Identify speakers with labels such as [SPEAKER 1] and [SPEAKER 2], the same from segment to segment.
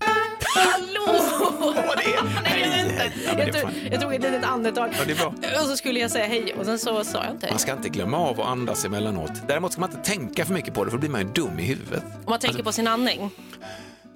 [SPEAKER 1] Nej, jag vet inte. Jag tog, jag tog ett litet andetag. Och så skulle jag säga hej och sen så sa jag inte hej.
[SPEAKER 2] Man ska inte glömma av att andas emellanåt. Däremot ska man inte tänka för mycket på det, för då blir man ju dum i huvudet.
[SPEAKER 1] Om man tänker på sin andning.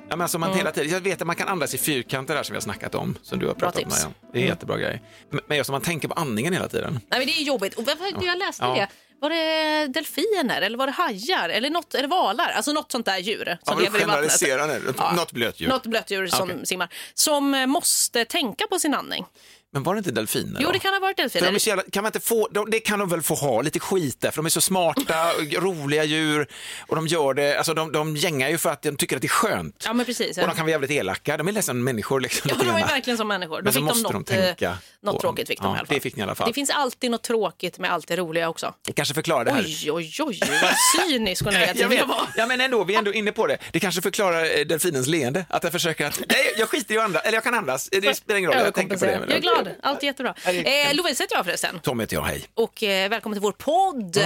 [SPEAKER 2] Ja, men alltså man hela tiden, jag vet att man kan andas i fyrkanter där som vi har snackat om, som du har pratat om.
[SPEAKER 1] tips. Mm.
[SPEAKER 2] Maja. Det är jättebra grej. Men, men just att man tänker på andningen hela tiden.
[SPEAKER 1] Nej, men det är jobbigt. Och varför, jag läste
[SPEAKER 2] Ja.
[SPEAKER 1] det. Var det delfiner eller var det hajar eller, något, eller valar? Alltså något sånt där djur som
[SPEAKER 2] men
[SPEAKER 1] lever i vattnet.
[SPEAKER 2] generaliserar nu. Något blöt djur.
[SPEAKER 1] Något blött djur som
[SPEAKER 2] Okej.
[SPEAKER 1] simmar. Som eh, måste tänka på sin andning.
[SPEAKER 2] Men var det inte delfiner?
[SPEAKER 1] Jo,
[SPEAKER 2] då?
[SPEAKER 1] det kan ha varit
[SPEAKER 2] För de är
[SPEAKER 1] delfiner.
[SPEAKER 2] så jävla, kan man inte få, de, det kan de väl få ha lite skit där, för de är så smarta, och roliga djur och de gör det, alltså de, de gängar ju för att de tycker att det är skönt.
[SPEAKER 1] Ja, men precis.
[SPEAKER 2] Och de kan vara jävligt elaka, de är nästan människor. Liksom,
[SPEAKER 1] Ja, de är
[SPEAKER 2] granna.
[SPEAKER 1] verkligen som människor. Då
[SPEAKER 2] Men så
[SPEAKER 1] fick de
[SPEAKER 2] måste de
[SPEAKER 1] något,
[SPEAKER 2] tänka
[SPEAKER 1] eh, något
[SPEAKER 2] på-
[SPEAKER 1] tråkigt. Fick de
[SPEAKER 2] Ja,
[SPEAKER 1] i alla fall.
[SPEAKER 2] det fick ni i alla fall.
[SPEAKER 1] Det finns alltid något tråkigt med allt det roliga också.
[SPEAKER 2] Det kanske förklarar det här.
[SPEAKER 1] Oj, oj, oj, vad cynisk och negativ
[SPEAKER 2] Jag vet,
[SPEAKER 1] var.
[SPEAKER 2] ja, men ändå, vi är ändå inne på det. Det kanske förklarar eh, delfinens leende, att den försöker att, nej, jag skiter i att andas, eller jag kan andas, det spelar ingen roll, jag tänker på det.
[SPEAKER 1] Jag är glad, allt är jättebra.
[SPEAKER 2] det-
[SPEAKER 1] Eh, Lovisa heter jag förresten.
[SPEAKER 2] Tommy heter jag, hej.
[SPEAKER 1] Och eh, välkommen till vår podd.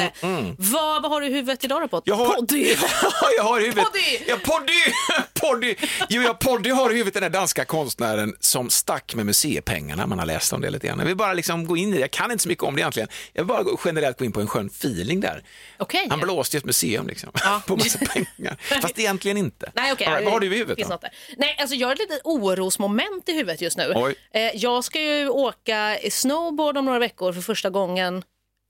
[SPEAKER 1] Vad, vad har du i huvudet idag då? Pod?
[SPEAKER 2] Mm, Jag har,
[SPEAKER 1] Poddy!
[SPEAKER 2] jag har i huvudet.
[SPEAKER 1] Poddy!
[SPEAKER 2] Ja, poddy! poddy! Jo, jag poddy har i huvudet den där danska konstnären som stack med museipengarna. Man har läst om det lite grann. Jag vill bara liksom gå in i det. Jag kan inte så mycket om det egentligen. Jag vill bara gå- generellt gå in på en skön feeling där.
[SPEAKER 1] Okej.
[SPEAKER 2] Han blåste ju ett museum liksom,
[SPEAKER 1] Ja.
[SPEAKER 2] på massa pengar. Fast egentligen inte.
[SPEAKER 1] Nej, okej.
[SPEAKER 2] All right, vad har du i
[SPEAKER 1] Det finns
[SPEAKER 2] huvudet då?
[SPEAKER 1] något där. Nej, alltså jag har ett litet orosmoment i huvudet just nu.
[SPEAKER 2] Oj.
[SPEAKER 1] Eh, jag ska ju åka snowboard om några veckor för första gången.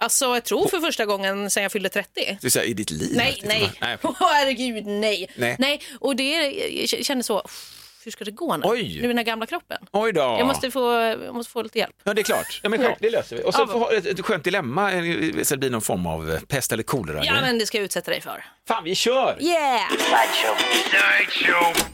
[SPEAKER 1] Alltså jag tror för första gången sedan jag fyllde 30.
[SPEAKER 2] Du säger i ditt liv?
[SPEAKER 1] Nej,
[SPEAKER 2] Liksom.
[SPEAKER 1] nej. Åh, herregud, nej.
[SPEAKER 2] Nej.
[SPEAKER 1] och det är- jag känner så, hur ska det gå nu?
[SPEAKER 2] Oj.
[SPEAKER 1] Nu i den här gamla kroppen.
[SPEAKER 2] Oj då.
[SPEAKER 1] Jag, måste få, jag måste få lite hjälp.
[SPEAKER 2] Ja, det är klart. Ja, men skönt, det löser vi. Och så
[SPEAKER 1] Ja,
[SPEAKER 2] får ha ett, ett skönt dilemma, eh, så det blir någon form av eh, pest eller kolera.
[SPEAKER 1] Ja, men det ska jag utsätta dig för.
[SPEAKER 2] Fan, vi kör!
[SPEAKER 1] Yeah!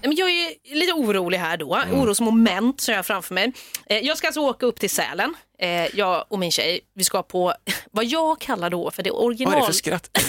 [SPEAKER 1] Men jag är lite orolig här då,
[SPEAKER 2] Mm.
[SPEAKER 1] orosmoment som jag har framför mig. Eh, Jag ska alltså åka upp till Sälen, Eh, jag och min tjej. Vi ska på vad jag kallar då för det original...
[SPEAKER 2] Vad är det för skratt?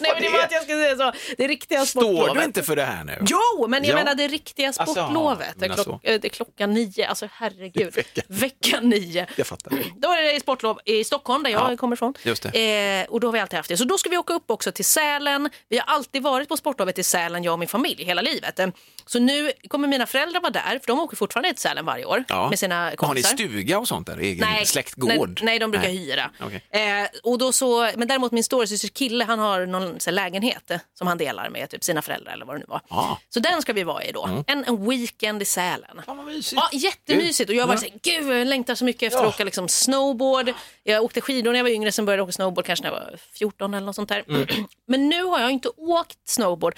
[SPEAKER 1] Nej, men det var att jag skulle säga så. Det riktiga sportlovet.
[SPEAKER 2] Står du inte för det här nu?
[SPEAKER 1] Jo, men jag
[SPEAKER 2] Ja.
[SPEAKER 1] menar det riktiga
[SPEAKER 2] Alltså,
[SPEAKER 1] sportlovet.
[SPEAKER 2] men
[SPEAKER 1] klock,
[SPEAKER 2] alltså.
[SPEAKER 1] eh, det är klockan nio, alltså herregud.
[SPEAKER 2] Vecka.
[SPEAKER 1] Vecka nio.
[SPEAKER 2] Jag fattar.
[SPEAKER 1] Då är det sportlov i Stockholm där jag
[SPEAKER 2] Ja,
[SPEAKER 1] kommer ifrån.
[SPEAKER 2] just
[SPEAKER 1] Eh, och då har vi alltid haft det. Så då ska vi åka upp också till Sälen. Vi har alltid varit på sportlovet i Sälen, jag och min familj, hela livet. Eh, Så nu kommer mina föräldrar vara där, för de åker fortfarande till Sälen varje år
[SPEAKER 2] Ja.
[SPEAKER 1] med sina
[SPEAKER 2] Har ni
[SPEAKER 1] kompisar.
[SPEAKER 2] stuga och sånt där? Egen släktgård?
[SPEAKER 1] Nej, nej, de brukar hyra.
[SPEAKER 2] Okej.
[SPEAKER 1] Eh, och då så, men däremot min storasysters kille, han har någon så här, lägenhet eh, som han delar med typ, sina föräldrar eller vad det nu var.
[SPEAKER 2] Ja.
[SPEAKER 1] Så den ska vi vara i då.
[SPEAKER 2] Mm.
[SPEAKER 1] En, en weekend i Sälen.
[SPEAKER 2] Fan, vad mysigt.
[SPEAKER 1] Ja, jättemysigt. Och jag var så här, gud jag längtar så mycket efter att åka liksom, snowboard. Jag åkte skidor när jag var yngre, sen började jag åka snowboard kanske när jag var 14 eller något sånt där.
[SPEAKER 2] Mm.
[SPEAKER 1] Men nu har jag inte åkt snowboard.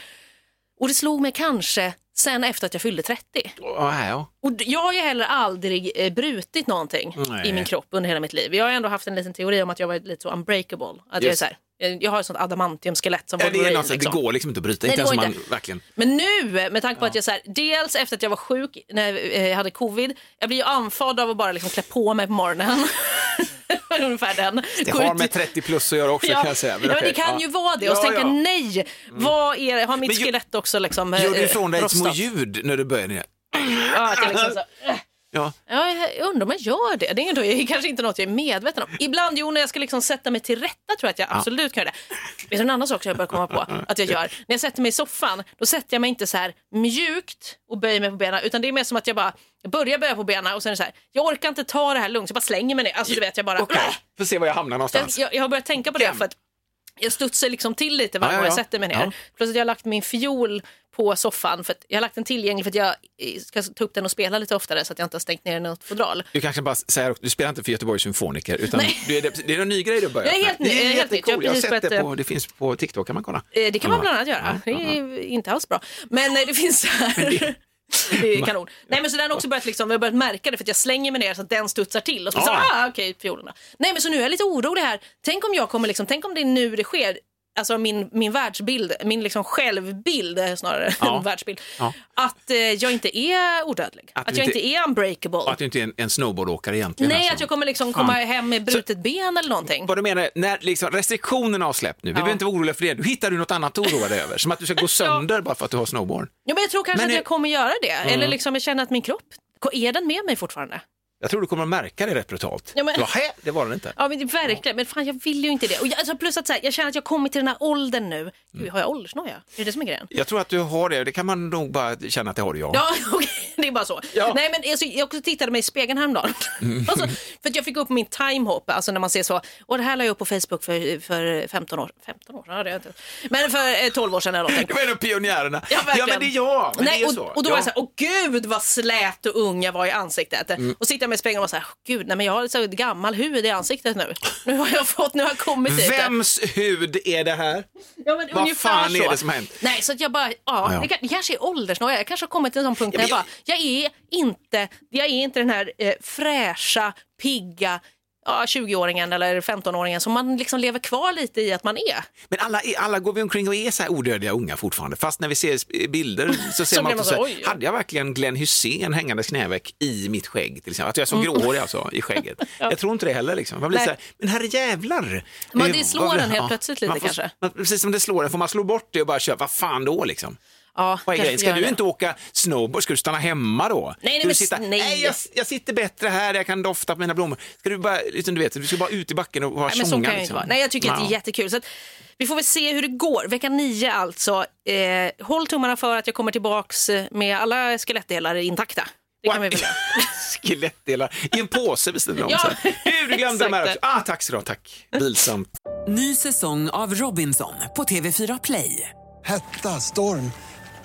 [SPEAKER 1] Och det slog mig kanske sen efter att jag fyllde 30.
[SPEAKER 2] Ja, här, ja.
[SPEAKER 1] Och d- jag har ju heller aldrig eh, brutit någonting
[SPEAKER 2] Nej.
[SPEAKER 1] i min kropp under hela mitt liv. Jag har ändå haft en liten teori om att jag var lite så unbreakable. Att jag, är
[SPEAKER 2] Just.
[SPEAKER 1] så här, eh, jag- jag har ett sånt adamantium-skelett som
[SPEAKER 2] Ja, det, är
[SPEAKER 1] Wolverine,
[SPEAKER 2] något, liksom. det går liksom inte att bryta.
[SPEAKER 1] Nej,
[SPEAKER 2] inte
[SPEAKER 1] det
[SPEAKER 2] ens
[SPEAKER 1] går
[SPEAKER 2] om
[SPEAKER 1] inte.
[SPEAKER 2] man verkligen...
[SPEAKER 1] Men nu, eh, med tanke på att jag så här, dels efter att jag var sjuk när eh, jag hade covid, jag blir ju andfådd av att bara liksom klä på mig på morgonen. Ungefär den.
[SPEAKER 2] Det
[SPEAKER 1] Gå
[SPEAKER 2] har
[SPEAKER 1] ut-
[SPEAKER 2] med 30 plus att göra också
[SPEAKER 1] Ja,
[SPEAKER 2] kan jag säga.
[SPEAKER 1] ja, men det
[SPEAKER 2] okej,
[SPEAKER 1] kan
[SPEAKER 2] ja.
[SPEAKER 1] ju vara det. Och så
[SPEAKER 2] Ja,
[SPEAKER 1] tänker jag,
[SPEAKER 2] ja. Mm.
[SPEAKER 1] nej, vad är det? Har mitt
[SPEAKER 2] Men ju-
[SPEAKER 1] skelett också liksom eh,
[SPEAKER 2] Gör du ifrån dig små
[SPEAKER 1] rostat?
[SPEAKER 2] ljud när du börjar ner?
[SPEAKER 1] Ja, att jag liksom så,
[SPEAKER 2] Ja.
[SPEAKER 1] Ja, jag undrar om jag gör det. Det är inte- det är kanske inte något jag är medveten om. Ibland, jo, när jag ska liksom sätta mig till rätta tror jag att jag absolut kan göra det. Vet du en annan sak som jag börjar komma på att jag gör? När jag sätter mig i soffan, då sätter jag mig inte så här mjukt och böjer mig på benen, utan det är mer som att jag bara jag börjar böja på benen och sen är det så här, jag orkar inte ta det här lugnt, så jag bara slänger mig ner. Alltså du vet, jag bara...
[SPEAKER 2] Okej, får se var jag hamnar
[SPEAKER 1] Jag,
[SPEAKER 2] någonstans.
[SPEAKER 1] jag, jag har börjat tänka på det för att jag studsar liksom till lite varje
[SPEAKER 2] Ja,
[SPEAKER 1] gång
[SPEAKER 2] ja,
[SPEAKER 1] jag
[SPEAKER 2] ja.
[SPEAKER 1] sätter mig ner.
[SPEAKER 2] Ja.
[SPEAKER 1] Plus att jag har lagt min fiol på soffan. För att jag har lagt den tillgänglig för att jag eh, ska ta upp den och spela lite oftare så att jag inte har stängt ner den i något fodral.
[SPEAKER 2] Du kanske bara säger du spelar inte för Göteborgs symfoniker, utan
[SPEAKER 1] Nej.
[SPEAKER 2] du är, det, det är en ny grej du har börjat
[SPEAKER 1] Jag är helt
[SPEAKER 2] med.
[SPEAKER 1] ny,
[SPEAKER 2] Det
[SPEAKER 1] jag är helt nytt.
[SPEAKER 2] jättecool.
[SPEAKER 1] Jag har precis
[SPEAKER 2] Jag har sett det
[SPEAKER 1] börjat,
[SPEAKER 2] på, det finns på TikTok, kan man kolla.
[SPEAKER 1] Eh, Det kan man
[SPEAKER 2] Ja.
[SPEAKER 1] bland annat göra. Det är inte alls bra. Men eh, det finns så här. Det är kanon. Nej, men så den har också börjat, liksom, jag har börjat märka det för att jag slänger mig ner så att den studsar till. Och så, så
[SPEAKER 2] Ja.
[SPEAKER 1] ah, okej, fiolerna. Nej, men så nu är jag lite orolig här. Tänk om jag kommer, liksom, tänk om det är nu det sker. alltså min, min världsbild, min liksom självbild eh, snarare
[SPEAKER 2] Ja.
[SPEAKER 1] än världsbild,
[SPEAKER 2] Ja.
[SPEAKER 1] att eh, jag inte är odödlig.
[SPEAKER 2] Att
[SPEAKER 1] Att,
[SPEAKER 2] du
[SPEAKER 1] jag
[SPEAKER 2] inte-
[SPEAKER 1] inte är unbreakable.
[SPEAKER 2] Och att du inte är en, en snowboardåkare egentligen.
[SPEAKER 1] Nej,
[SPEAKER 2] alltså.
[SPEAKER 1] att jag kommer liksom komma
[SPEAKER 2] Fan.
[SPEAKER 1] hem med brutet ben eller någonting.
[SPEAKER 2] Vad du menar, när liksom restriktionerna har släppt nu, vi behöver inte vara oroliga för det, då hittar du något annat att oroa dig över. Som att du ska gå sönder bara för att du har snowboard.
[SPEAKER 1] Ja, men jag tror kanske att
[SPEAKER 2] Men är- Mm.
[SPEAKER 1] jag kommer göra det. Eller liksom jag känner att min kropp, är den med mig fortfarande?
[SPEAKER 2] Jag tror du kommer att märka det rätt brutalt.
[SPEAKER 1] Ja, men-
[SPEAKER 2] Du bara, "Hä? det var den inte.
[SPEAKER 1] Ja men det- verkligen, men fan jag vill ju inte det. Och jag, alltså, plus att så här, jag känner att jag kommit till den här åldern nu. Gud, har jag åldersnoja? Är det det som är grejen?
[SPEAKER 2] Jag tror att du har det, det kan man nog bara känna att det har du, ja.
[SPEAKER 1] Ja, okej, det är bara så.
[SPEAKER 2] Ja. Mm.
[SPEAKER 1] Nej, men alltså, jag också tittade mig i spegeln häromdagen. Alltså, för att jag fick upp min timehop, alltså när man ser så. Och det här la jag upp på Facebook för, för 15 år 15 år? Ja, det är jag inte. Men för eh, 12 år sedan eller någonting.
[SPEAKER 2] Det var en av pionjärerna.
[SPEAKER 1] Ja, verkligen.
[SPEAKER 2] men det är jag. Men
[SPEAKER 1] Nej,
[SPEAKER 2] det är
[SPEAKER 1] och,
[SPEAKER 2] så.
[SPEAKER 1] och då
[SPEAKER 2] ja. Mm.
[SPEAKER 1] var jag så här, åh gud vad slät och ung jag var i ansiktet. Och sitter jag med spegeln och var så här, "Åh, gud nej men jag har så här ett gammal huvud i ansiktet nu. Nu har jag fått, nu har jag kommit dit.
[SPEAKER 2] Vems hud är det här?
[SPEAKER 1] Ja, men
[SPEAKER 2] Vad
[SPEAKER 1] ungefär
[SPEAKER 2] fan
[SPEAKER 1] så.
[SPEAKER 2] är det som har hänt?
[SPEAKER 1] Nej, så att jag bara, ja,
[SPEAKER 2] ja.
[SPEAKER 1] Det, kan, det kanske är åldersnoja. Jag kanske har kommit till en sån punkt där
[SPEAKER 2] Ja,
[SPEAKER 1] jag,
[SPEAKER 2] men
[SPEAKER 1] bara, jag är inte, jag är inte den här eh, fräscha, pigga, ja, 20-åringen eller 15-åringen som man liksom lever kvar lite i att man är.
[SPEAKER 2] Men alla, är- alla går vi omkring och är så här odödliga unga fortfarande. Fast när vi ser sp- bilder så ser
[SPEAKER 1] Så
[SPEAKER 2] man,
[SPEAKER 1] blir man
[SPEAKER 2] så
[SPEAKER 1] så,
[SPEAKER 2] här,
[SPEAKER 1] oj.
[SPEAKER 2] hade jag verkligen Glenn Hussein hängandes knäveck i mitt skägg? Till exempel. Att jag är så gråhårig alltså, i skägget. Jag tror inte det heller. Liksom. Man blir
[SPEAKER 1] Mm. Nej.
[SPEAKER 2] så här, men herre jävlar.
[SPEAKER 1] Men
[SPEAKER 2] Eh,
[SPEAKER 1] det slår
[SPEAKER 2] vad blir-
[SPEAKER 1] en helt plötsligt lite
[SPEAKER 2] man får,
[SPEAKER 1] kanske.
[SPEAKER 2] Man, precis som det slår en, får man slå bort det och bara köra, vad fan då liksom?
[SPEAKER 1] Ja,
[SPEAKER 2] Vad är
[SPEAKER 1] kanske
[SPEAKER 2] grejen? Ska
[SPEAKER 1] gör
[SPEAKER 2] du
[SPEAKER 1] det.
[SPEAKER 2] inte åka snowboard? Ska du stanna hemma då?
[SPEAKER 1] nej,
[SPEAKER 2] ska du
[SPEAKER 1] men
[SPEAKER 2] sitta,
[SPEAKER 1] nej.
[SPEAKER 2] nej jag, jag sitter bättre här, jag kan dofta på mina blommor. Ska du bara, liksom, du vet, du ska bara ut i backen och ha
[SPEAKER 1] Nej, men så
[SPEAKER 2] tjonga,
[SPEAKER 1] kan jag inte
[SPEAKER 2] liksom.
[SPEAKER 1] vara. Nej, jag tycker att det
[SPEAKER 2] Ja.
[SPEAKER 1] är jättekul. Så att, vi får väl se hur det går. Vecka 9 alltså. Eh, håll tummarna för att jag kommer tillbaks eh, med alla skelettdelar intakta. Det kan vi väl göra.
[SPEAKER 2] Skelettdelar i en påse bestämde de.
[SPEAKER 1] Ja,
[SPEAKER 2] Ja, du glömde de här också.
[SPEAKER 1] exakt.
[SPEAKER 2] Ah, tack så du ha, tack. Vilsamt.
[SPEAKER 3] Ny säsong av Robinson på TV4 Play.
[SPEAKER 4] Hetta, storm,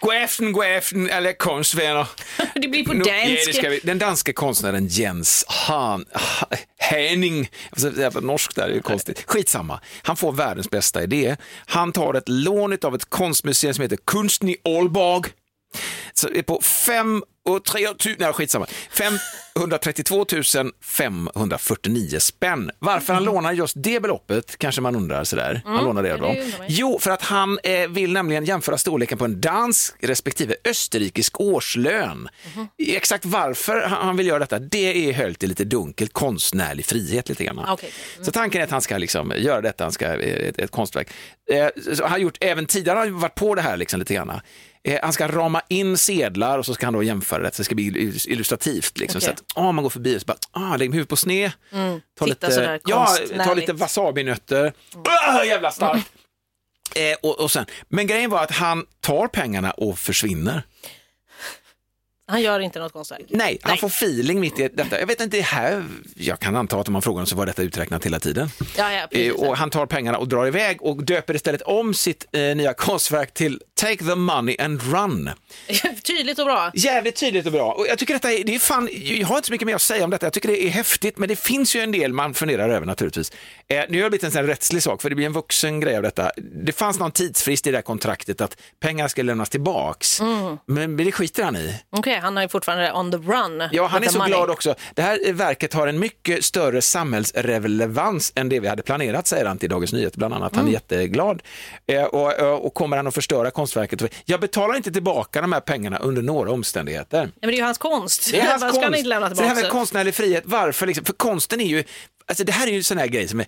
[SPEAKER 2] God afton, god afton, alla konstvänner.
[SPEAKER 1] Det blir på
[SPEAKER 2] Nu- Ja, det
[SPEAKER 1] dansk.
[SPEAKER 2] ska vi. Den danske konstnären Jens Han, Ha- Henning, jag försökte säga på norsk där, det är ju konstigt. Skitsamma, han får världens bästa idé. Han tar ett lån av ett konstmuseum som heter Kunsten i Aalborg. Så det är på 5 och 3 tu- nej, skitsamma. 532 549 spänn. Varför
[SPEAKER 1] Mm.
[SPEAKER 2] han lånar just det beloppet kanske man undrar sådär. Han lånar det av
[SPEAKER 1] det
[SPEAKER 2] dem.
[SPEAKER 1] undrar man ju.
[SPEAKER 2] Jo, för att han eh, vill nämligen jämföra storleken på en dansk respektive österrikisk årslön.
[SPEAKER 1] Mhm.
[SPEAKER 2] Exakt varför han han vill göra detta, det är höljt i lite dunkelt konstnärlig frihet lite grann.
[SPEAKER 1] Ah, okej.
[SPEAKER 2] Så tanken är att han ska liksom göra detta, han ska eh, ett, ett konstverk. Eh, så- så han har gjort, även tidigare har han varit på det här liksom lite grann. Eh, han ska rama in sedlar och så ska han då jämföra det, så det ska bli illus- illustrativt. Liksom,
[SPEAKER 1] Okej. Mm.
[SPEAKER 2] så att, ah, man går förbi och så bara, ah, lägg huvudet på sned, ta,
[SPEAKER 1] Titta
[SPEAKER 2] lite,
[SPEAKER 1] sådär
[SPEAKER 2] ja, ta
[SPEAKER 1] konstnärligt.
[SPEAKER 2] lite wasabinötter, ah, jävla starkt. Eh, och, och sen, men grejen var att han tar pengarna och försvinner.
[SPEAKER 1] Han gör inte något konstverk.
[SPEAKER 2] Nej, han får feeling mitt i detta. Jag vet inte, det här, jag kan anta att om man frågar honom så var detta uträknat hela tiden.
[SPEAKER 1] Ja, ja,
[SPEAKER 2] Eh,
[SPEAKER 1] precis.
[SPEAKER 2] och han tar pengarna och drar iväg och döper istället om sitt eh, nya konstverk till Take the money and run.
[SPEAKER 1] Tydligt och bra.
[SPEAKER 2] Jävligt tydligt och bra. Och jag tycker detta är, det är fan, jag har inte så mycket mer att säga om detta. Jag tycker det är häftigt, men det finns ju en del man funderar över naturligtvis. Eh, nu har det blivit en sån här rättslig sak, för det blir en vuxen grej av detta. Det fanns någon tidsfrist i det här kontraktet att pengar ska lämnas tillbaks, men det skiter han i.
[SPEAKER 1] Okej, han är ju fortfarande on the run.
[SPEAKER 2] Ja, han
[SPEAKER 1] with
[SPEAKER 2] är
[SPEAKER 1] the
[SPEAKER 2] så
[SPEAKER 1] money.
[SPEAKER 2] glad också. Det här verket har en mycket större samhällsrelevans än det vi hade planerat, säger han till Dagens Nyheter bland annat. Han
[SPEAKER 1] Mm.
[SPEAKER 2] är jätteglad. Eh, och, eh, och kommer han att förstöra konstverket? Jag betalar inte tillbaka de här pengarna under några omständigheter.
[SPEAKER 1] Nej, men det är ju hans konst.
[SPEAKER 2] Det är hans
[SPEAKER 1] Vad
[SPEAKER 2] konst.
[SPEAKER 1] ska han inte lämna
[SPEAKER 2] Så det här
[SPEAKER 1] tillbaka?
[SPEAKER 2] med konstnärlig frihet, varför liksom? För konsten är ju, alltså det här är ju en sån här grej som är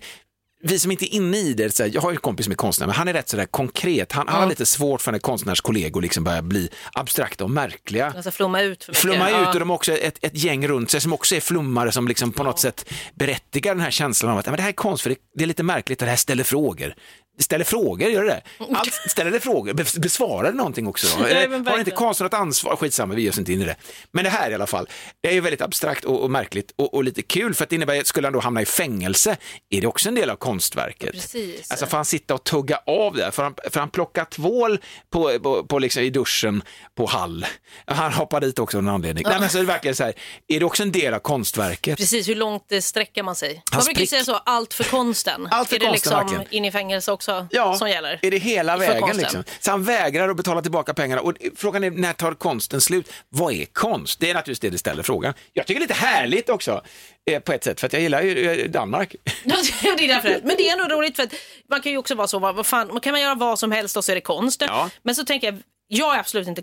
[SPEAKER 2] vi som inte är inne i det, så här, jag har ju en kompis som är konstnär, men han är rätt sådär konkret. Han, han har lite svårt för när konstnärskollegor liksom börjar bli abstrakta och märkliga.
[SPEAKER 1] Alltså flumma ut för mycket.
[SPEAKER 2] Flumma ut
[SPEAKER 1] Ja.
[SPEAKER 2] och de har också ett, ett gäng runt sig som också är flummare som liksom på något sätt berättigar den här känslan av att "Ja, men det här är konst för det, det är lite märkligt och det här ställer frågor. Det Ställer frågor, gör det det? Allt ställer det frågor, Be- besvarar det någonting också? Då?
[SPEAKER 1] Mm. men
[SPEAKER 2] Eller, har inte
[SPEAKER 1] verkligen.
[SPEAKER 2] konstnären ett ansvar? Skitsamma, vi ger oss inte in i det. Men det här i alla fall, det är ju väldigt abstrakt och, och märkligt och, och lite kul för att det innebär att skulle han då hamna i fängelse är det också en del av konstverket.
[SPEAKER 1] Precis.
[SPEAKER 2] Alltså får han sitta och tugga av det? Får han, får han plocka tvål på, på, på liksom, i duschen på Hall? Han hoppar dit också av någon anledning. Nej, men så är det verkligen så här, är det också en del av konstverket?
[SPEAKER 1] Precis, hur långt eh, sträcker man sig?
[SPEAKER 2] Hans
[SPEAKER 1] Man brukar ju
[SPEAKER 2] prick.
[SPEAKER 1] säga så, allt för konsten.
[SPEAKER 2] Allt för
[SPEAKER 1] är det
[SPEAKER 2] konsten,
[SPEAKER 1] liksom
[SPEAKER 2] verkligen.
[SPEAKER 1] in i fängelse också
[SPEAKER 2] Ja,
[SPEAKER 1] som gäller?
[SPEAKER 2] är det hela
[SPEAKER 1] För
[SPEAKER 2] vägen
[SPEAKER 1] konsten.
[SPEAKER 2] liksom? Så han vägrar att betala tillbaka pengarna och frågan är när tar konsten slut? Vad är konst? Det är naturligtvis det du ställer frågan. Jag tycker det är lite härligt också eh, på ett sätt för att jag gillar ju eh, Danmark.
[SPEAKER 1] Ja, det är därför. det- Men det är ändå roligt för att man kan ju också vara så, vad, vad fan, man kan man göra vad som helst och så är det konst.
[SPEAKER 2] Ja.
[SPEAKER 1] Men så tänker jag, jag är absolut inte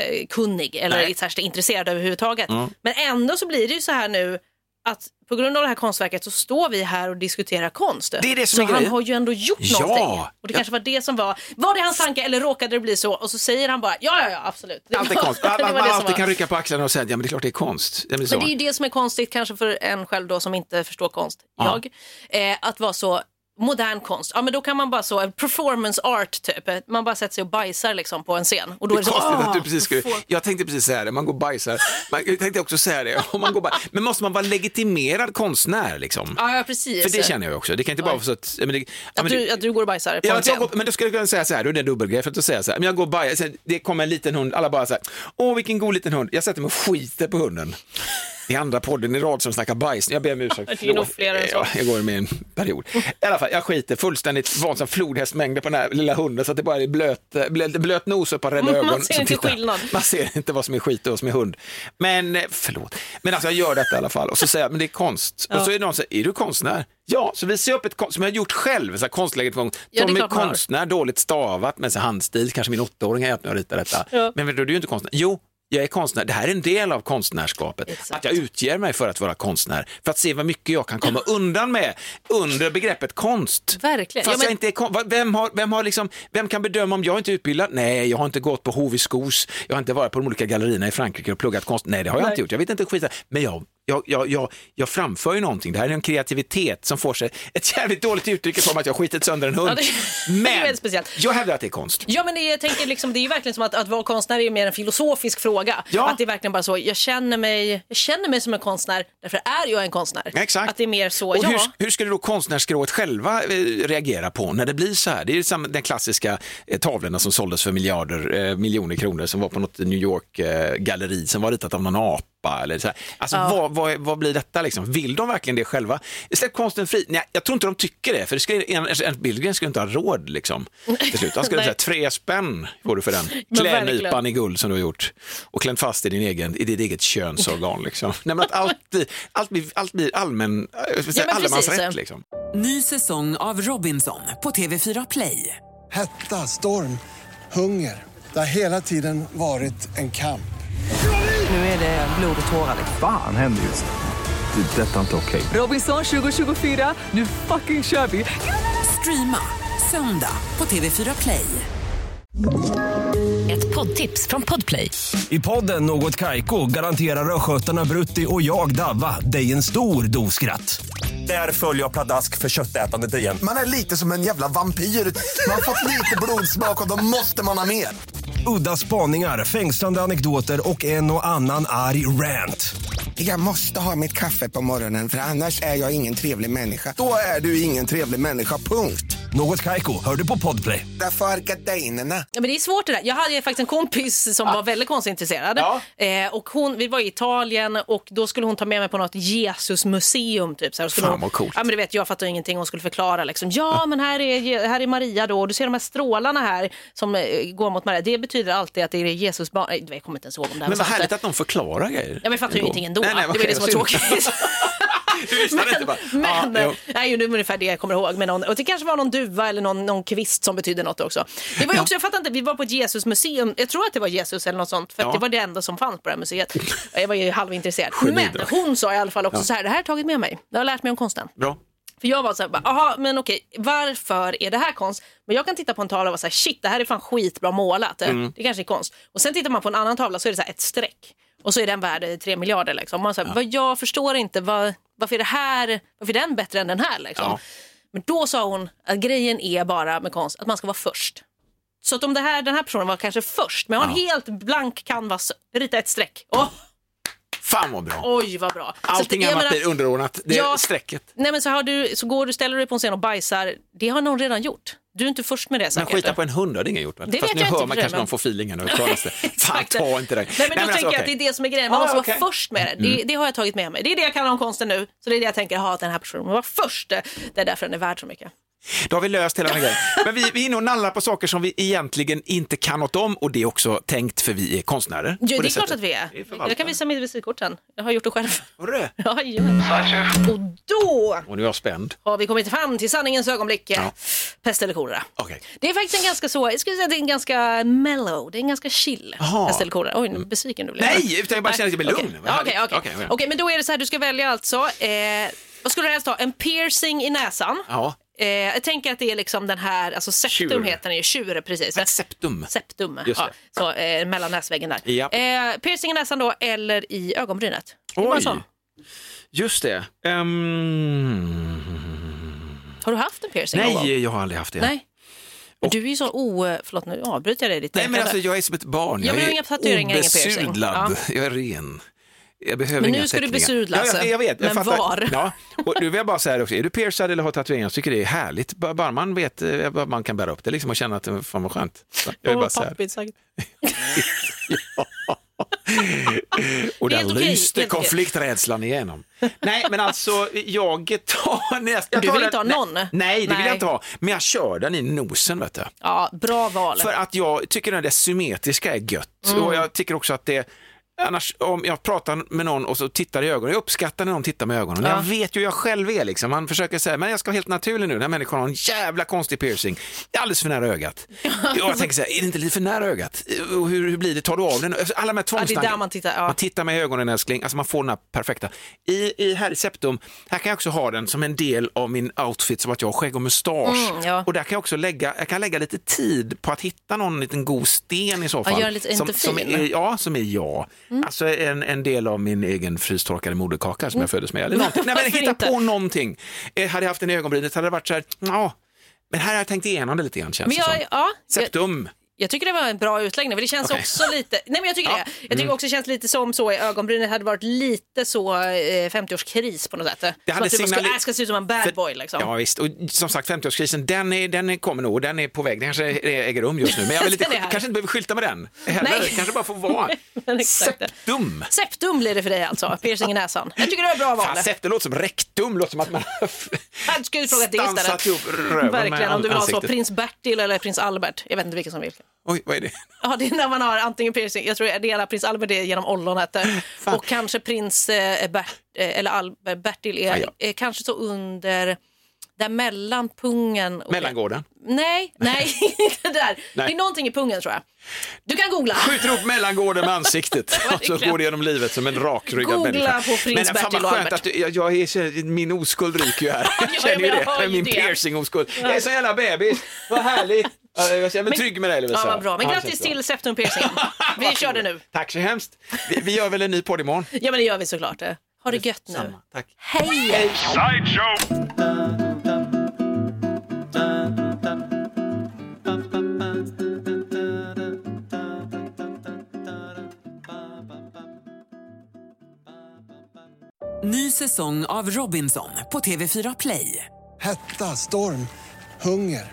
[SPEAKER 1] konstkunnig eller
[SPEAKER 2] Nej. Mm.
[SPEAKER 1] särskilt intresserad överhuvudtaget. Men ändå så blir det ju så här nu att på grund av det här konstverket så står vi här och diskuterar konst.
[SPEAKER 2] Det är det som
[SPEAKER 1] så
[SPEAKER 2] är
[SPEAKER 1] han
[SPEAKER 2] grejen.
[SPEAKER 1] har ju ändå gjort
[SPEAKER 2] Ja.
[SPEAKER 1] någonting. Och det
[SPEAKER 2] Ja.
[SPEAKER 1] kanske var det som var, var det hans tanke eller råkade det bli så? Och så säger han bara, ja, ja, ja, absolut. Det
[SPEAKER 2] Allt är
[SPEAKER 1] var-
[SPEAKER 2] konst.
[SPEAKER 1] det
[SPEAKER 2] Man,
[SPEAKER 1] var
[SPEAKER 2] man,
[SPEAKER 1] det som var.
[SPEAKER 2] alltid kan rycka på axlarna och säga ja men det är klart det är konst. Det blir så.
[SPEAKER 1] Men det är ju det som är konstigt kanske för en själv då som inte förstår konst,
[SPEAKER 2] Ja.
[SPEAKER 1] jag, eh, att vara så modern konst, ja men då kan man bara så, performance art typ, man bara sätter sig och bajsar liksom på en scen och då är det så,
[SPEAKER 2] konstigt
[SPEAKER 1] "Ah!"
[SPEAKER 2] att du precis skulle... Jag tänkte precis säga det, man går och bajsar. Man, jag tänkte också säga det, om man går och bajsar. Men måste man vara legitimerad konstnär liksom?
[SPEAKER 1] ja, ja precis.
[SPEAKER 2] För det känner jag också. Det kan inte bara vara så att... ja, Men det, ja,
[SPEAKER 1] att,
[SPEAKER 2] men
[SPEAKER 1] du,
[SPEAKER 2] det,
[SPEAKER 1] att du går och bajsar på
[SPEAKER 2] Ja,
[SPEAKER 1] en
[SPEAKER 2] att jag
[SPEAKER 1] scen.
[SPEAKER 2] går, men då skulle jag kunna säga så här, då är det en dubbelgrej för att säga så här, men jag går och bajsar, sen det kommer en liten hund, alla bara så här, åh vilken god liten hund, jag sätter mig och skiter på hunden. Det är andra podden i rad som snackar bajs, jag ber om ursäkt.
[SPEAKER 1] Det är nog
[SPEAKER 2] förlåt.
[SPEAKER 1] fler än så.
[SPEAKER 2] Ja, jag går med i en period. I alla fall, jag skiter fullständigt vansinnigt flodhästmängder på den här lilla hunden så att det bara är blöt, eh, blöt, blöt nos och ett par rädda
[SPEAKER 1] Man
[SPEAKER 2] ögon.
[SPEAKER 1] ser
[SPEAKER 2] som
[SPEAKER 1] inte
[SPEAKER 2] tittar.
[SPEAKER 1] skillnad.
[SPEAKER 2] Man ser inte vad som är skit och vad som är hund. Men, eh, förlåt, men alltså jag gör detta i alla fall och så säger jag, men det är konst. Och så är det någon som säger, är du konstnär? Ja, så visar jag upp ett konst som jag har gjort själv, så här konstläget gång.
[SPEAKER 1] Ja, det är
[SPEAKER 2] Tommy
[SPEAKER 1] klart man har.
[SPEAKER 2] konstnär, dåligt stavat med så här handstil, kanske min åttaåring har hjälpt mig att rita detta.
[SPEAKER 1] Ja.
[SPEAKER 2] Men då är du ju inte konstnär. Jo, jag är konstnär. Det här är en del av konstnärskapet.
[SPEAKER 1] Exakt.
[SPEAKER 2] Att jag utger mig för att vara konstnär, för att se vad mycket jag kan komma undan med under begreppet konst.
[SPEAKER 1] Verkligen.
[SPEAKER 2] Fast
[SPEAKER 1] Ja, men-
[SPEAKER 2] jag inte är kon- vad- vem, har, vem, har liksom, vem kan bedöma om jag inte är utbildad? Nej, jag har inte gått på HV Skos, jag har inte varit på de olika gallerierna i Frankrike och pluggat konst. Nej, det har jag inte gjort. Jag vet inte skit. Men jag, jag, jag, jag, jag framför ju någonting. Det här är en kreativitet som får sig ett jävligt dåligt uttryck i form av att jag har skitit sönder en hund.
[SPEAKER 1] Ja, det- det är
[SPEAKER 2] Men
[SPEAKER 1] väldigt speciellt.
[SPEAKER 2] jag hävdar att det är konst.
[SPEAKER 1] Ja men det, jag tänker liksom, det är ju verkligen som att, att vara konstnär är ju mer en filosofisk fråga.
[SPEAKER 2] Ja.
[SPEAKER 1] Att det är verkligen bara så, jag känner, mig, jag känner mig som en konstnär, därför är jag en konstnär.
[SPEAKER 2] Exakt.
[SPEAKER 1] Att det är mer så,
[SPEAKER 2] Och
[SPEAKER 1] ja.
[SPEAKER 2] hur, hur skulle då konstnärsskrået själva eh, reagera på när det blir så här? Det är ju samma, den klassiska eh, tavlorna som såldes för miljarder, eh, miljoner kronor som var på något New York-galleri som var ritat av någon apa. Eller så här. Alltså, vad, vad, vad blir detta? Liksom? Vill de verkligen det själva? Släpp konsten fri. Nej, jag tror inte de tycker det, för det skulle, en, alltså, en Billgren skulle inte ha råd liksom, till slut. Han skulle
[SPEAKER 1] Nej.
[SPEAKER 2] säga tre spänn får du för den.
[SPEAKER 1] Men verkligen.
[SPEAKER 2] Klädnypan i guld som du har gjort och klämt fast i, din egen, i ditt eget könsorgan. Liksom. Nej, men att allt, blir- allt, blir, allt blir allmän, eh,
[SPEAKER 1] Ja, men
[SPEAKER 2] allemansrätt.
[SPEAKER 1] precis.
[SPEAKER 2] Liksom.
[SPEAKER 3] Ny säsong av Robinson på TV4 Play.
[SPEAKER 4] Hetta, storm, hunger. Det har hela tiden varit en kamp.
[SPEAKER 3] Nu är det blod och tårar. liksom.
[SPEAKER 5] Fan händer just det. Det är detta inte okej.
[SPEAKER 3] Robinson 2024, nu fucking kör vi! Streama söndag på TV4 Play.
[SPEAKER 6] Ett poddtips från Podplay.
[SPEAKER 7] I podden Något Kaiko garanterar östgötarna Brutti och jag, Davva, dig en stor dos skratt. Där följer jag pladask för köttätandet igen.
[SPEAKER 8] Man är lite som en jävla vampyr. Man har fått lite blodsmak och då måste man ha mer.
[SPEAKER 7] Udda spaningar, fängslande anekdoter och en och annan arg rant.
[SPEAKER 8] Jag måste ha mitt kaffe på morgonen för annars är jag ingen trevlig människa. Då är du ingen trevlig människa, punkt.
[SPEAKER 7] Något Kaiko, hör du på Podplay.
[SPEAKER 8] Därför är gardinerna.
[SPEAKER 1] Ja, men det är svårt det där. Jag hade ju faktiskt en kompis
[SPEAKER 2] Ah.
[SPEAKER 1] som var väldigt konstintresserad. Eh, och hon, vi var i Italien och då skulle hon ta med mig på något Jesusmuseum. Typ, så här. Och skulle
[SPEAKER 2] Fan,
[SPEAKER 1] hon,
[SPEAKER 2] vad coolt. Ah.
[SPEAKER 1] Ja, men du vet, jag fattar ju ingenting. Hon skulle förklara. Liksom, ja, men här är, Je- här är Maria då. Och du ser de här strålarna här som eh, går mot Maria. Det betyder alltid att det är Jesus barn. Nej, Jag kommer inte ens ihåg om det här
[SPEAKER 2] Men vad
[SPEAKER 1] sant.
[SPEAKER 2] härligt att någon förklarar grejer.
[SPEAKER 1] Ja, men jag fattar ju ingenting ändå.
[SPEAKER 2] Nej, nej,
[SPEAKER 1] det var
[SPEAKER 2] okej,
[SPEAKER 1] det som var
[SPEAKER 2] synd.
[SPEAKER 1] tråkigt.
[SPEAKER 2] Du lyssnade inte bara.
[SPEAKER 1] Men,
[SPEAKER 2] Ja, jo.
[SPEAKER 1] nej, det är ungefär det jag kommer ihåg. Med någon, och det kanske var någon duva eller någon, någon kvist som betydde något också. Det var ju också, jag fattar inte, vi var på ett Jesusmuseum, jag tror att det var Jesus eller något sånt, för att
[SPEAKER 2] Ja.
[SPEAKER 1] det var det enda som fanns på det här museet. Jag var ju halvintresserad.
[SPEAKER 2] Geni
[SPEAKER 1] Men
[SPEAKER 2] då.
[SPEAKER 1] hon sa i alla fall också så här, det här har jag tagit med mig, det har lärt mig om konsten.
[SPEAKER 2] Bra.
[SPEAKER 1] För jag var så här, bara, aha, men okej, varför är det här konst? Men jag kan titta på en tavla och vara så här, shit, det här är fan skitbra målat. Eh,
[SPEAKER 2] Mm.
[SPEAKER 1] Det kanske är konst. Och sen tittar man på en annan tavla så är det så här ett streck. Och så är den värd 3 miljarder. Liksom. Man så här, vad, jag förstår inte, vad, varför, är det här, varför är den bättre än den här? Liksom.
[SPEAKER 2] Ja.
[SPEAKER 1] Men då sa hon att grejen är bara med konst att man ska vara först. Så att om det här, den här personen var kanske först med att ha en helt blank canvas, rita ett streck. Åh,
[SPEAKER 2] Fan vad bra.
[SPEAKER 1] oj, vad bra. Så att-
[SPEAKER 2] Allting
[SPEAKER 1] jag
[SPEAKER 2] annat
[SPEAKER 1] menar-
[SPEAKER 2] blir underordnat. Det är
[SPEAKER 1] Ja.
[SPEAKER 2] strecket.
[SPEAKER 1] Nej men så, har du, så går du, ställer du dig på en scen och bajsar. Det har någon redan gjort. Du är inte först med det
[SPEAKER 2] Men
[SPEAKER 1] säkert.
[SPEAKER 2] skita på en hund har det ingen gjort. Väl?
[SPEAKER 1] Det
[SPEAKER 2] Fast
[SPEAKER 1] vet
[SPEAKER 2] nu
[SPEAKER 1] jag
[SPEAKER 2] hör
[SPEAKER 1] inte
[SPEAKER 2] man
[SPEAKER 1] för
[SPEAKER 2] kanske
[SPEAKER 1] det,
[SPEAKER 2] någon
[SPEAKER 1] men-
[SPEAKER 2] får feeling här nu. Klaras det. Fan,
[SPEAKER 1] Exakt.
[SPEAKER 2] ta inte det. alltså,
[SPEAKER 1] Nej, men då tänker jag att det är det som är grejen. Man
[SPEAKER 2] Ah,
[SPEAKER 1] måste
[SPEAKER 2] okej. Mm.
[SPEAKER 1] vara först med det. det. Det har jag tagit med mig. Det är det jag kan om konsten nu. Så det är det jag tänker, ha att den här personen var först. Det är därför den är värd så mycket.
[SPEAKER 2] Då har vi löst hela den här grejen. Men vi, vi är inne och nallar på saker som vi egentligen inte kan något om och det är också tänkt för vi är konstnärer.
[SPEAKER 1] Jo,
[SPEAKER 2] på
[SPEAKER 1] det är klart
[SPEAKER 2] sättet.
[SPEAKER 1] att vi är.
[SPEAKER 2] Det är förvaltare.
[SPEAKER 1] jag kan visa mitt visitkort sen. Jag har gjort det själv.
[SPEAKER 2] Hörru,
[SPEAKER 1] Ja, ja. Och då
[SPEAKER 2] Och nu är jag spänd.
[SPEAKER 1] har vi kommit fram till sanningens ögonblick.
[SPEAKER 2] Ja.
[SPEAKER 1] Pest eller kolera.
[SPEAKER 2] Okej.
[SPEAKER 1] Det är faktiskt en ganska så, jag skulle säga att det är en ganska mellow, det är en ganska chill
[SPEAKER 2] Jaha.
[SPEAKER 1] pest eller kolera. Oj, nu besviken du blev.
[SPEAKER 2] Nej, utan jag bara
[SPEAKER 1] Nej,
[SPEAKER 2] känner att jag blir
[SPEAKER 1] okej.
[SPEAKER 2] lugn. Vad
[SPEAKER 1] Ja,
[SPEAKER 2] härligt.
[SPEAKER 1] Okej, okej.
[SPEAKER 2] Okej, okej.
[SPEAKER 1] Okej, men då är det så här, du ska välja alltså, eh, vad skulle du helst ha? En piercing i näsan.
[SPEAKER 2] Ja,
[SPEAKER 1] Eh, jag tänker att det är liksom den här, alltså septum
[SPEAKER 2] Tjur.
[SPEAKER 1] heter den ju, tjure precis.
[SPEAKER 2] ett septum.
[SPEAKER 1] septum,
[SPEAKER 2] Just
[SPEAKER 1] ja, så, eh, mellan näsväggen där.
[SPEAKER 2] Ja.
[SPEAKER 1] Eh, piercing i näsan då, eller i ögonbrynet. Det är bara en sån.
[SPEAKER 2] just det. Ehm,
[SPEAKER 1] Har du haft en piercing någon gång?
[SPEAKER 2] Nej, jag har aldrig haft det.
[SPEAKER 1] Nej. Men Du är ju så o... förlåt nu avbryter jag dig i ditt
[SPEAKER 2] Nej, men
[SPEAKER 1] tänkande.
[SPEAKER 2] alltså jag är som ett barn.
[SPEAKER 1] Ja, men
[SPEAKER 2] jag
[SPEAKER 1] inga tatueringar, ingen piercing.
[SPEAKER 2] obesudlad. Jag är ren. Jag behöver
[SPEAKER 1] Men nu
[SPEAKER 2] inga
[SPEAKER 1] ska du
[SPEAKER 2] teckningar.
[SPEAKER 1] besudla,
[SPEAKER 2] ja, jag,
[SPEAKER 1] alltså.
[SPEAKER 2] jag vet, jag
[SPEAKER 1] Men
[SPEAKER 2] fattar.
[SPEAKER 1] var?
[SPEAKER 2] Ja, och nu vill jag bara säga det också, är du piercad eller har tatueringar så tycker jag det är härligt. Bara bara man vet eh, vad man kan bära upp det liksom och känna att eh, fan vad skönt. Så Jag vill
[SPEAKER 1] Åh,
[SPEAKER 2] bara säga det.
[SPEAKER 1] pappigt sagt.
[SPEAKER 2] Och där
[SPEAKER 1] Helt okej,
[SPEAKER 2] lyste
[SPEAKER 1] helt okej.
[SPEAKER 2] konflikträdslan igenom. Nej, men alltså jag tar nästa. jag
[SPEAKER 1] Du
[SPEAKER 2] tar
[SPEAKER 1] vill
[SPEAKER 2] den-
[SPEAKER 1] inte ha
[SPEAKER 2] nej,
[SPEAKER 1] någon?
[SPEAKER 2] Nej, det vill
[SPEAKER 1] Nej.
[SPEAKER 2] jag inte ha. Men jag kör den i nosen vet du.
[SPEAKER 1] Ja, bra val.
[SPEAKER 2] För att jag tycker att det symmetriska är gött
[SPEAKER 1] Mm.
[SPEAKER 2] och jag tycker också att det Annars om jag pratar med någon och så tittar i ögonen, jag uppskattar när någon tittar med ögonen. Jag vet ju hur jag själv är liksom, man försöker säga, men jag ska vara helt naturlig nu, den här människan har en jävla konstig piercing, alldeles för nära ögat. Jag tänker så här, är det inte lite för nära ögat? Och hur, hur blir det, tar du av den? Alltså, Alla de här
[SPEAKER 1] Ja, det är där
[SPEAKER 2] tvångstankarna.
[SPEAKER 1] man tittar. Ja.
[SPEAKER 2] Man tittar med ögonen älskling, alltså man får den här perfekta. I, i här i septum, här kan jag också ha den som en del av min outfit som att jag har skägg och mustasch.
[SPEAKER 1] Mm, ja.
[SPEAKER 2] Och där kan jag också lägga, jag kan lägga lite tid på att hitta någon liten god sten i så
[SPEAKER 1] Ja,
[SPEAKER 2] fall.
[SPEAKER 1] gör lite Mm.
[SPEAKER 2] som,
[SPEAKER 1] inte
[SPEAKER 2] som
[SPEAKER 1] fin.
[SPEAKER 2] är, ja, som är jag. Alltså en, en del av min egen frystorkade moderkaka som jag föddes med. Eller någonting. Nej, men
[SPEAKER 1] Mm. Varför
[SPEAKER 2] hitta
[SPEAKER 1] inte?
[SPEAKER 2] på någonting. Eh, hade jag haft den i ögonbrynet hade det varit så här, ja, men här har jag tänkt igenom det lite grann känns
[SPEAKER 1] Men
[SPEAKER 2] det
[SPEAKER 1] jag,
[SPEAKER 2] som.
[SPEAKER 1] ja, jag,
[SPEAKER 2] Septum.
[SPEAKER 1] jag tycker det var en bra utläggning, för det känns
[SPEAKER 2] Okej.
[SPEAKER 1] också lite, nej men jag tycker
[SPEAKER 2] Ja. Mm.
[SPEAKER 1] det. Jag tycker också det känns lite som så i ögonbrynet hade varit lite så eh, 50-årskris på något sätt. Det
[SPEAKER 2] hade
[SPEAKER 1] att du bara
[SPEAKER 2] signale-
[SPEAKER 1] skulle, äh, ska se ut som en
[SPEAKER 2] För-
[SPEAKER 1] bad boy liksom.
[SPEAKER 2] Ja visst, och som sagt 50-årskrisen den, är, den är, kommer nog, den är på väg, den kanske är- äger rum just nu. Men jag vill inte,
[SPEAKER 1] Den är här.
[SPEAKER 2] kanske inte behöver skylta med den heller,
[SPEAKER 1] Nej.
[SPEAKER 2] kanske bara får vara.
[SPEAKER 1] Men exakt.
[SPEAKER 2] Septum!
[SPEAKER 1] Septum blir det för dig alltså, piercing i näsan. Jag tycker det var ett bra val.
[SPEAKER 2] Fan, septum låter som rektum, låter som att man har
[SPEAKER 1] Jag skulle fråga det
[SPEAKER 2] stansat
[SPEAKER 1] istället.
[SPEAKER 2] ihop röven
[SPEAKER 1] Verkligen,
[SPEAKER 2] med
[SPEAKER 1] om du vill ha så
[SPEAKER 2] ansiktet.
[SPEAKER 1] prins Bertil eller prins Albert. Jag vet inte vilken som är vilken.
[SPEAKER 2] Oj, vad är det?
[SPEAKER 1] Ja, det är när man har antingen piercing, jag tror det ena prins Albert är genom ollonet
[SPEAKER 2] Fan.
[SPEAKER 1] och kanske prins eh, Bert, eh, eller Al, eh, Bertil är,
[SPEAKER 2] Ja, ja.
[SPEAKER 1] är kanske så under, där mellan pungen och...
[SPEAKER 2] Mellangården.
[SPEAKER 1] Nej, nej, inte där. Det är någonting i pungen tror jag. Du kan googla.
[SPEAKER 2] Skjuter ihop mellangården med ansiktet och så
[SPEAKER 1] Verkligen.
[SPEAKER 2] går det genom livet som en rakryggad
[SPEAKER 1] Googla
[SPEAKER 2] människa.
[SPEAKER 1] på prins
[SPEAKER 2] Men fan vad
[SPEAKER 1] Bertil och
[SPEAKER 2] skönt
[SPEAKER 1] Albert.
[SPEAKER 2] att du, jag, jag är, så- min oskuld ryker ju här. Jag
[SPEAKER 1] Ja,
[SPEAKER 2] känner ju
[SPEAKER 1] jag
[SPEAKER 2] det,
[SPEAKER 1] hör ju
[SPEAKER 2] min
[SPEAKER 1] det.
[SPEAKER 2] piercing-oskuld. Jag är så jävla bebis, vad härligt. Ja, Jag känner mig
[SPEAKER 1] Men-
[SPEAKER 2] trygg med dig Lovisa.
[SPEAKER 1] Ja, vad bra. Men
[SPEAKER 2] Ja, det
[SPEAKER 1] grattis
[SPEAKER 2] känns bra.
[SPEAKER 1] till septumpiercingen. Vi kör det nu.
[SPEAKER 2] Tack så hemskt. Vi, vi gör väl en ny podd imorgon.
[SPEAKER 1] Ja, men det gör vi såklart. Eh, Ha det gött nu.
[SPEAKER 2] Samma. Tack.
[SPEAKER 1] Hej!
[SPEAKER 3] Ny säsong av Robinson på TV4 Play.
[SPEAKER 4] Hetta, storm, hunger.